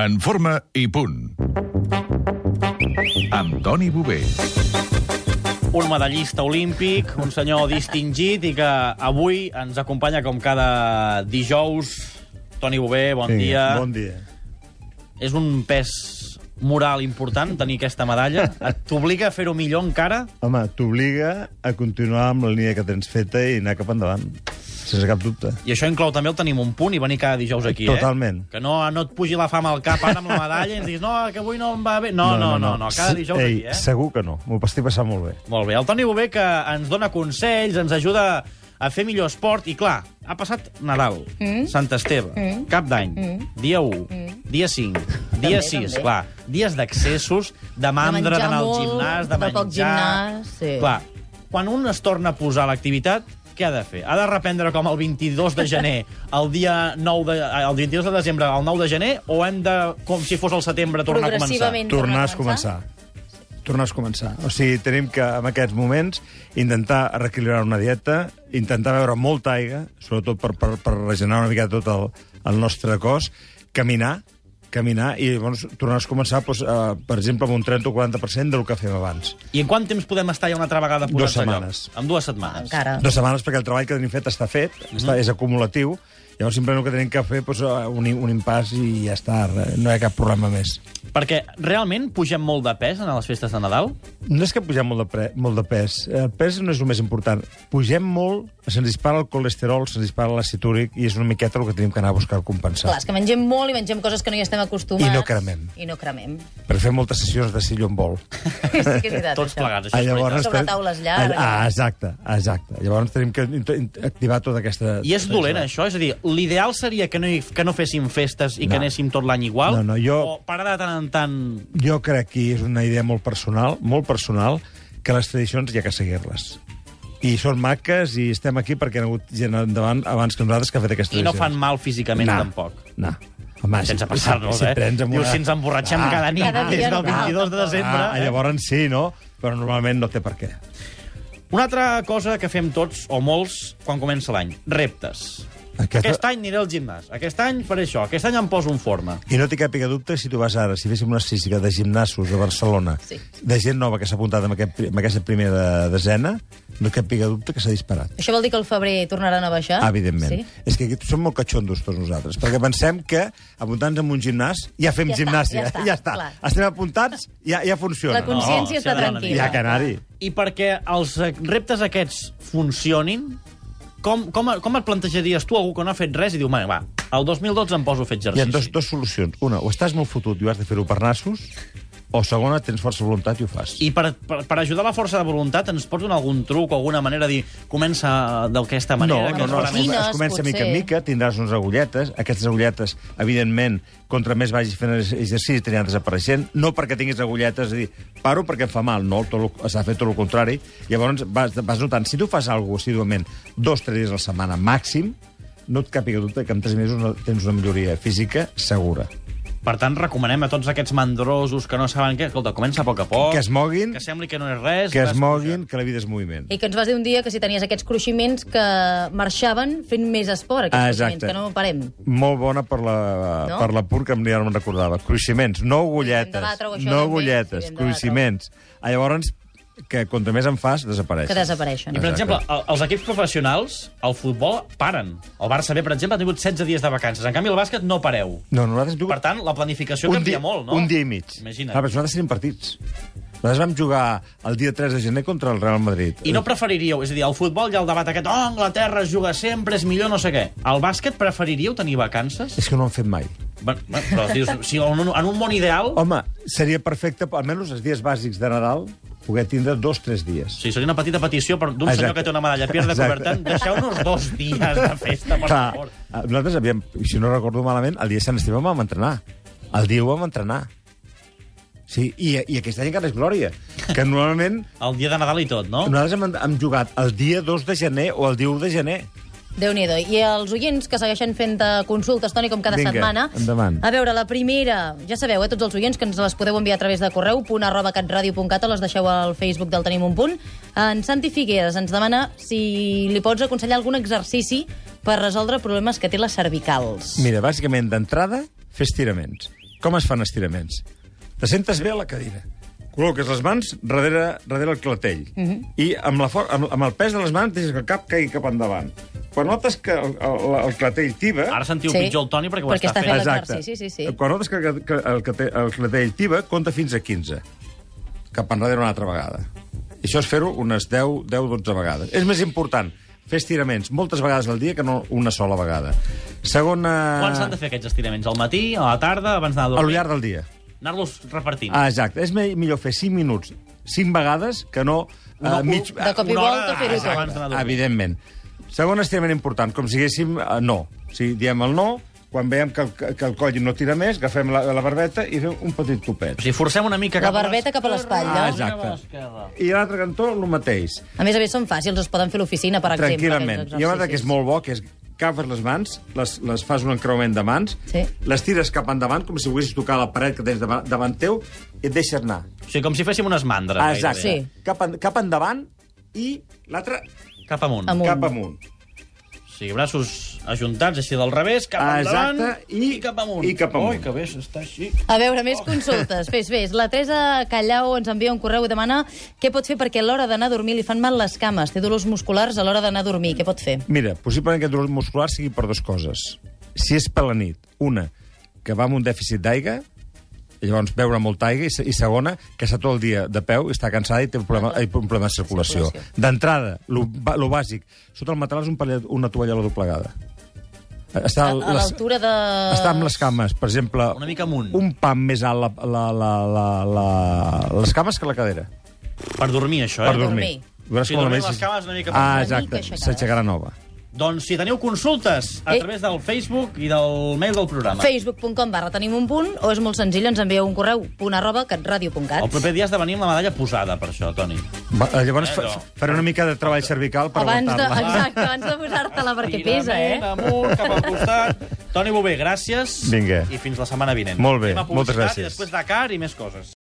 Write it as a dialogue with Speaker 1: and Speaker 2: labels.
Speaker 1: En forma i punt. Amb Toni Bové.
Speaker 2: un medallista olímpic, un senyor distingit i que avui ens acompanya com cada dijous. Toni Bové, bon sí, dia.
Speaker 3: Bon dia.
Speaker 2: És un pes moral important tenir aquesta medalla. Et- T'obliga a fer-ho millor encara?
Speaker 3: Home, t'obliga a continuar amb la línia que tens feta i anar cap endavant, sense cap dubte.
Speaker 2: I això inclou també el tenim un punt i venir cada dijous aquí,
Speaker 3: Totalment.
Speaker 2: eh? Que no, no et pugi la fama al cap ara amb la medalla i ens diguis no, que avui no em va bé. No, no, no, no, no. cada dijous
Speaker 3: Ei,
Speaker 2: aquí, eh?
Speaker 3: Segur que no, m'ho estic passant molt bé.
Speaker 2: Molt bé, el Toni Bové que ens dona consells, ens ajuda a fer millor esport, i clar, ha passat Nadal, mm? Sant Esteve, mm? Cap d'Any, mm? dia 1, mm? dia 5, dia
Speaker 4: També,
Speaker 2: 6,
Speaker 4: també.
Speaker 2: clar, dies d'accessos, de mandra,
Speaker 4: menjar
Speaker 2: d'anar al
Speaker 4: molt,
Speaker 2: gimnàs, de
Speaker 4: de
Speaker 2: menjar...
Speaker 4: poc gimnàs, sí.
Speaker 2: Clar, quan un es torna a posar a l'activitat, què ha de fer? Ha de reprendre com el 22 de gener, el dia 9 de, el 22 de desembre, el 9 de gener, o hem de, com si fos el setembre, tornar a començar?
Speaker 4: Progressivament
Speaker 3: Tornar a començar. Tornar a començar. O sigui, tenim que, en aquests moments, intentar reequilibrar una dieta, intentar beure molta aigua, sobretot per, per, per regenerar una mica tot el, el nostre cos, caminar, caminar i llavors tornar a començar, doncs, eh, per exemple, amb un 30 o 40% del que fem abans.
Speaker 2: I en quant temps podem estar ja una altra vegada
Speaker 3: Dues
Speaker 2: posats a lloc?
Speaker 3: setmanes.
Speaker 2: En dues setmanes.
Speaker 4: Encara.
Speaker 3: Dues setmanes perquè el treball que tenim fet està fet, mm -hmm.
Speaker 4: Mhm.
Speaker 3: està, és acumulatiu, llavors simplement el que tenim que fer és doncs, un, un impàs i ja està, no hi ha cap problema més.
Speaker 2: Perquè realment pugem molt de pes en les festes de Nadal?
Speaker 3: No és que pugem molt de, pre, molt de pes, el pes no és el més important, pugem molt, se'ns dispara el colesterol, se'ns dispara l'àcid úric i és una miqueta el que tenim que anar a buscar compensar.
Speaker 4: Clar, és que mengem molt i mengem coses que no hi estem acostumats.
Speaker 3: I no cremem.
Speaker 4: I no cremem.
Speaker 3: Per fer moltes sessions de silló en vol.
Speaker 4: sí que és veritat,
Speaker 2: Tots
Speaker 4: això.
Speaker 2: plegats,
Speaker 3: Ah,
Speaker 2: això és veritat.
Speaker 4: veritat. Sobre taules llargues.
Speaker 3: Ah, exacte, exacte. Llavors tenim que int- activar tota aquesta...
Speaker 2: I és dolent, això? És a dir, l'ideal seria que no, hi, que no féssim festes i no. que
Speaker 3: No.
Speaker 2: anéssim tot l'any igual?
Speaker 3: No, no, jo-
Speaker 2: O parar de tant en tant...
Speaker 3: Jo crec que és una idea molt personal, molt personal, que les tradicions hi ha que seguir-les. I són maques i estem aquí perquè hi ha hagut gent endavant abans que nosaltres que ha fet aquestes
Speaker 2: I no
Speaker 3: tradicions.
Speaker 2: fan mal físicament,
Speaker 3: No.
Speaker 2: tampoc.
Speaker 3: No. Home,
Speaker 2: Sense
Speaker 3: si-
Speaker 2: passar-nos,
Speaker 3: si
Speaker 2: eh?
Speaker 3: prens amb
Speaker 2: Dius,
Speaker 3: una-
Speaker 2: si ens emborratxem
Speaker 3: Ah,
Speaker 2: cada nit
Speaker 4: Cada dia
Speaker 2: des
Speaker 4: no
Speaker 2: del
Speaker 4: cal,
Speaker 2: 22 de
Speaker 4: tampoc.
Speaker 2: desembre...
Speaker 3: Ah,
Speaker 2: eh?
Speaker 3: llavors sí, no? Però normalment no té per què.
Speaker 2: Una altra cosa que fem tots, o molts, quan comença l'any. Reptes.
Speaker 3: Aquesta-
Speaker 2: Aquest any aniré al gimnàs. Aquest any faré això. Aquest any em poso en forma.
Speaker 3: I no té cap dubte si tu vas ara, si féssim una estadística de gimnasos de Barcelona,
Speaker 4: Sí.
Speaker 3: de gent nova que s'ha apuntat en, aquest, en aquesta primera desena, no té cap dubte que s'ha disparat.
Speaker 4: Això vol dir que el febrer tornaran a baixar?
Speaker 3: Ah, evidentment.
Speaker 4: Sí?
Speaker 3: Sí? És que aquí som molt catxondos tots nosaltres, perquè pensem que apuntant-nos en un gimnàs ja fem
Speaker 4: Ja està,
Speaker 3: gimnàsia.
Speaker 4: ja està,
Speaker 3: ja està.
Speaker 4: clar.
Speaker 3: Estem apuntats, ja, ja funciona.
Speaker 4: La consciència
Speaker 2: No, s'ha
Speaker 4: està
Speaker 2: d'anar una
Speaker 4: tranquil·la.
Speaker 2: mica.
Speaker 3: Ja que anar-hi.
Speaker 2: I perquè els eh, reptes aquests funcionin, com, com, com et plantejaries tu algú que no ha fet res i diu, "Mare, va, el 2012 em poso a fer
Speaker 3: Hi
Speaker 2: exercici?
Speaker 3: ha dos, dos solucions. Una, o estàs molt fotut i ho has de fer-ho per nassos, o segona, tens força voluntat i ho fas.
Speaker 2: I per, per, per ajudar la força de voluntat ens pots donar algun truc o alguna manera de dir comença d'aquesta manera?
Speaker 3: no,
Speaker 2: que
Speaker 3: no,
Speaker 2: es
Speaker 3: no,
Speaker 2: farà més
Speaker 3: es, comença-
Speaker 4: Rutines,
Speaker 3: es comença
Speaker 4: potser.
Speaker 3: mica en mica, tindràs unes agulletes, aquestes agulletes, evidentment, contra més vagis fent exercici, t'aniran desapareixent, no perquè tinguis agulletes, és a dir, paro perquè em fa mal, no, tot lo- s'ha fet tot el contrari, llavors vas, vas notant, si tu fas alguna cosa assiduament, dos, tres dies a la setmana màxim, no et càpiga dubte que en tres mesos no tens una milloria física segura.
Speaker 2: Per tant, recomanem a tots aquests mandrosos que no saben què... Escolta, comença a poc a poc.
Speaker 3: Que es moguin.
Speaker 2: Que sembli que no és res.
Speaker 3: Que es
Speaker 2: vas
Speaker 3: moguin, que la vida és moviment.
Speaker 4: I que ens vas dir un dia que si tenies aquests cruiximents que marxaven fent més esport, aquests
Speaker 3: Ah, exacte.
Speaker 4: cruiximents, que no parem.
Speaker 3: Molt bona per la,
Speaker 4: No?
Speaker 3: no? per la pur, que ja no me'n recordava. Cruiximents, no agulletes.
Speaker 4: debatre-ho, això,
Speaker 3: no
Speaker 4: també.
Speaker 3: agulletes,
Speaker 4: Sí, hem de
Speaker 3: cruiximents. Ah, llavors, que contra més en fas, desapareixen.
Speaker 4: Que desapareixen.
Speaker 2: I, per
Speaker 3: Exacte.
Speaker 2: exemple, el- els equips professionals, el futbol, paren. El Barça B, per exemple, ha tingut 16 dies de vacances. En canvi, el bàsquet no pareu.
Speaker 3: No, nosaltres hem
Speaker 2: Per tant, la planificació
Speaker 3: un
Speaker 2: canvia
Speaker 3: dia,
Speaker 2: molt, no?
Speaker 3: Un dia i mig.
Speaker 2: Imagina't.
Speaker 3: Clar, però nosaltres tenim partits. Nosaltres vam jugar el dia 3 de gener contra el Real Madrid.
Speaker 2: I no preferiríeu, és a dir, al futbol hi ha el debat aquest, oh, Anglaterra es juga sempre, és millor, no sé què. Al bàsquet preferiríeu tenir vacances?
Speaker 3: És que no ho hem fet mai.
Speaker 2: Bé, bé, però dius, si en un, en un món ideal...
Speaker 3: Home, seria perfecte, almenys els dies bàsics de Nadal, poder tindre dos, tres dies.
Speaker 2: Sí, seria una petita petició per- d'un
Speaker 3: Exacte.
Speaker 2: senyor que té una medalla Pierre de
Speaker 3: Exacte.
Speaker 2: Coubertin. Deixeu-nos dos dies de festa, per
Speaker 3: Clar, eh,
Speaker 2: favor.
Speaker 3: nosaltres havíem, si no recordo malament, el dia de Sant Esteve vam entrenar. El dia ho vam entrenar. Sí, i, i aquest any encara és glòria, que normalment
Speaker 2: El dia de Nadal i tot, no?
Speaker 3: nosaltres hem, hem jugat el dia 2 de gener o el dia 1 de gener.
Speaker 4: Déu-n'hi-do. I els oients que segueixen fent eh, consultes, Toni, com cada
Speaker 3: Vinga,
Speaker 4: setmana...
Speaker 3: endavant.
Speaker 4: A veure, la primera... Ja sabeu, eh, tots els oients, que ens les podeu enviar a través de correu, punt arroba catradio.cat, o les deixeu al Facebook del Tenim un punt. En Santi Figueres ens demana si li pots aconsellar algun exercici per resoldre problemes que té les cervicals.
Speaker 3: Mira, bàsicament, d'entrada, fer estiraments. Com es fan estiraments? Te sentes bé a la cadira. Col·loques les mans darrere, darrere el clatell. Mm -hmm. I amb, la for- amb, amb el pes de les mans deixes que el cap caigui cap endavant. Quan notes que el, el, el clatell tiba...
Speaker 2: Ara sentiu sí. pitjor el Toni perquè ho
Speaker 4: Perquè
Speaker 2: està
Speaker 4: està
Speaker 2: fent.
Speaker 4: fent- l'exercici, sí, sí, sí.
Speaker 3: Quan notes que, que el, clatell, el clatell tiba, compta fins a 15. Cap enrere una altra vegada. I això és fer-ho unes 10, 10, 12 vegades. És més important fer estiraments moltes vegades al dia que no una sola vegada. Segona...
Speaker 2: Quan s'han de fer aquests estiraments? Al matí, a la tarda, abans d'anar a
Speaker 3: A lo
Speaker 2: dormir?
Speaker 3: llarg del dia.
Speaker 2: Anar-los repartint.
Speaker 3: Ah, exacte. És me- millor fer 5 minuts 5 vegades que no
Speaker 2: Una-
Speaker 3: uh, mig...
Speaker 4: De cop i
Speaker 2: una hora
Speaker 4: volta fer-ho tot.
Speaker 2: abans d'anar a dormir.
Speaker 3: Evidentment. Segon estirament important, com si diguéssim eh, no. Si diem el no, quan veiem que el, que el coll no tira més, agafem la, la barbeta i fem un petit
Speaker 2: O
Speaker 3: topet.
Speaker 2: sigui, forcem una mica
Speaker 4: La
Speaker 2: cap a
Speaker 4: barbeta cap
Speaker 3: Ah,
Speaker 4: a l'espatlla.
Speaker 3: exacte.
Speaker 2: Cap a l'esquerra.
Speaker 3: I a l'altre cantó, el mateix.
Speaker 4: A més a més, són fàcils, es poden fer a l'oficina, per exemple.
Speaker 3: Tranquil·lament.
Speaker 4: aquests
Speaker 3: Hi ha una altra que és
Speaker 4: exercicis.
Speaker 3: molt bo, que és que agafes les mans, les, les fas un encreuament de mans,
Speaker 4: Sí.
Speaker 3: les tires cap endavant, com si volguessis tocar la paret que tens davant, davant teu, i et deixes anar.
Speaker 2: O sigui, com si féssim unes mandres.
Speaker 3: Ah,
Speaker 2: gairebé.
Speaker 3: exacte.
Speaker 4: Sí.
Speaker 3: Cap, en, cap endavant i l'altre
Speaker 2: Cap amunt.
Speaker 4: Amunt.
Speaker 3: cap amunt.
Speaker 2: O sigui, braços ajuntats així del revés, cap
Speaker 3: Ah, exacte,
Speaker 2: endavant
Speaker 3: i-
Speaker 2: cap amunt.
Speaker 3: i cap
Speaker 2: Oi,
Speaker 3: amunt.
Speaker 2: que bé, s'està així.
Speaker 4: A veure, més
Speaker 3: Oh.
Speaker 4: consultes. Fes, fes. La Teresa Callau ens envia un correu i demana què pot fer perquè a l'hora d'anar a dormir li fan mal les cames. Té dolors musculars a l'hora d'anar a dormir. Què pot fer?
Speaker 3: Mira, possiblement aquest dolor muscular sigui per dues coses. Si és per la nit, una, que va amb un dèficit d'aigua, i llavors beure molta aigua, i, se- i segona, que està tot el dia de peu, i està cansada i té un problema, i un problema de circulació.
Speaker 4: Circulació.
Speaker 3: D'entrada, lo, ba- lo bàsic, sota el matalàs un pallet, una tovallola doblegada. Està
Speaker 4: A,
Speaker 3: el-
Speaker 4: a
Speaker 3: les-
Speaker 4: l'altura de...
Speaker 3: Està amb les cames, per exemple...
Speaker 2: Una mica amunt.
Speaker 3: Un pam més alt la, la, la, la, la, les cames que la cadera.
Speaker 2: Per dormir, això, eh?
Speaker 3: per dormir.
Speaker 4: dormir.
Speaker 3: Veuràs
Speaker 2: Si
Speaker 3: com la
Speaker 2: dormim
Speaker 3: mesa-
Speaker 2: les cames una mica per
Speaker 3: Ah,
Speaker 4: dormir. Una
Speaker 3: exacte.
Speaker 4: mica aixecades.
Speaker 3: S'aixecarà nova.
Speaker 2: Doncs si teniu consultes a
Speaker 4: Ei.
Speaker 2: través del Facebook i del mail del programa.
Speaker 4: facebook.com barra tenim un punt o és molt senzill, ens envieu un correu punt arroba catradio.cat
Speaker 2: El proper dia has de venir amb la medalla posada, per això, Toni.
Speaker 3: Va, eh, llavors fa,
Speaker 2: Bueno.
Speaker 3: faré una mica de treball cervical per
Speaker 4: abans de,
Speaker 3: aguantar-la.
Speaker 4: exacte, abans de posar-te-la perquè pesa, eh?
Speaker 2: Tirament, amunt, cap al costat. Toni Bové, gràcies.
Speaker 3: Vinga.
Speaker 2: I fins la setmana vinent.
Speaker 3: Molt bé,
Speaker 2: Anem a
Speaker 3: moltes
Speaker 2: publicitat
Speaker 3: gràcies.
Speaker 2: I després Dakar i més coses.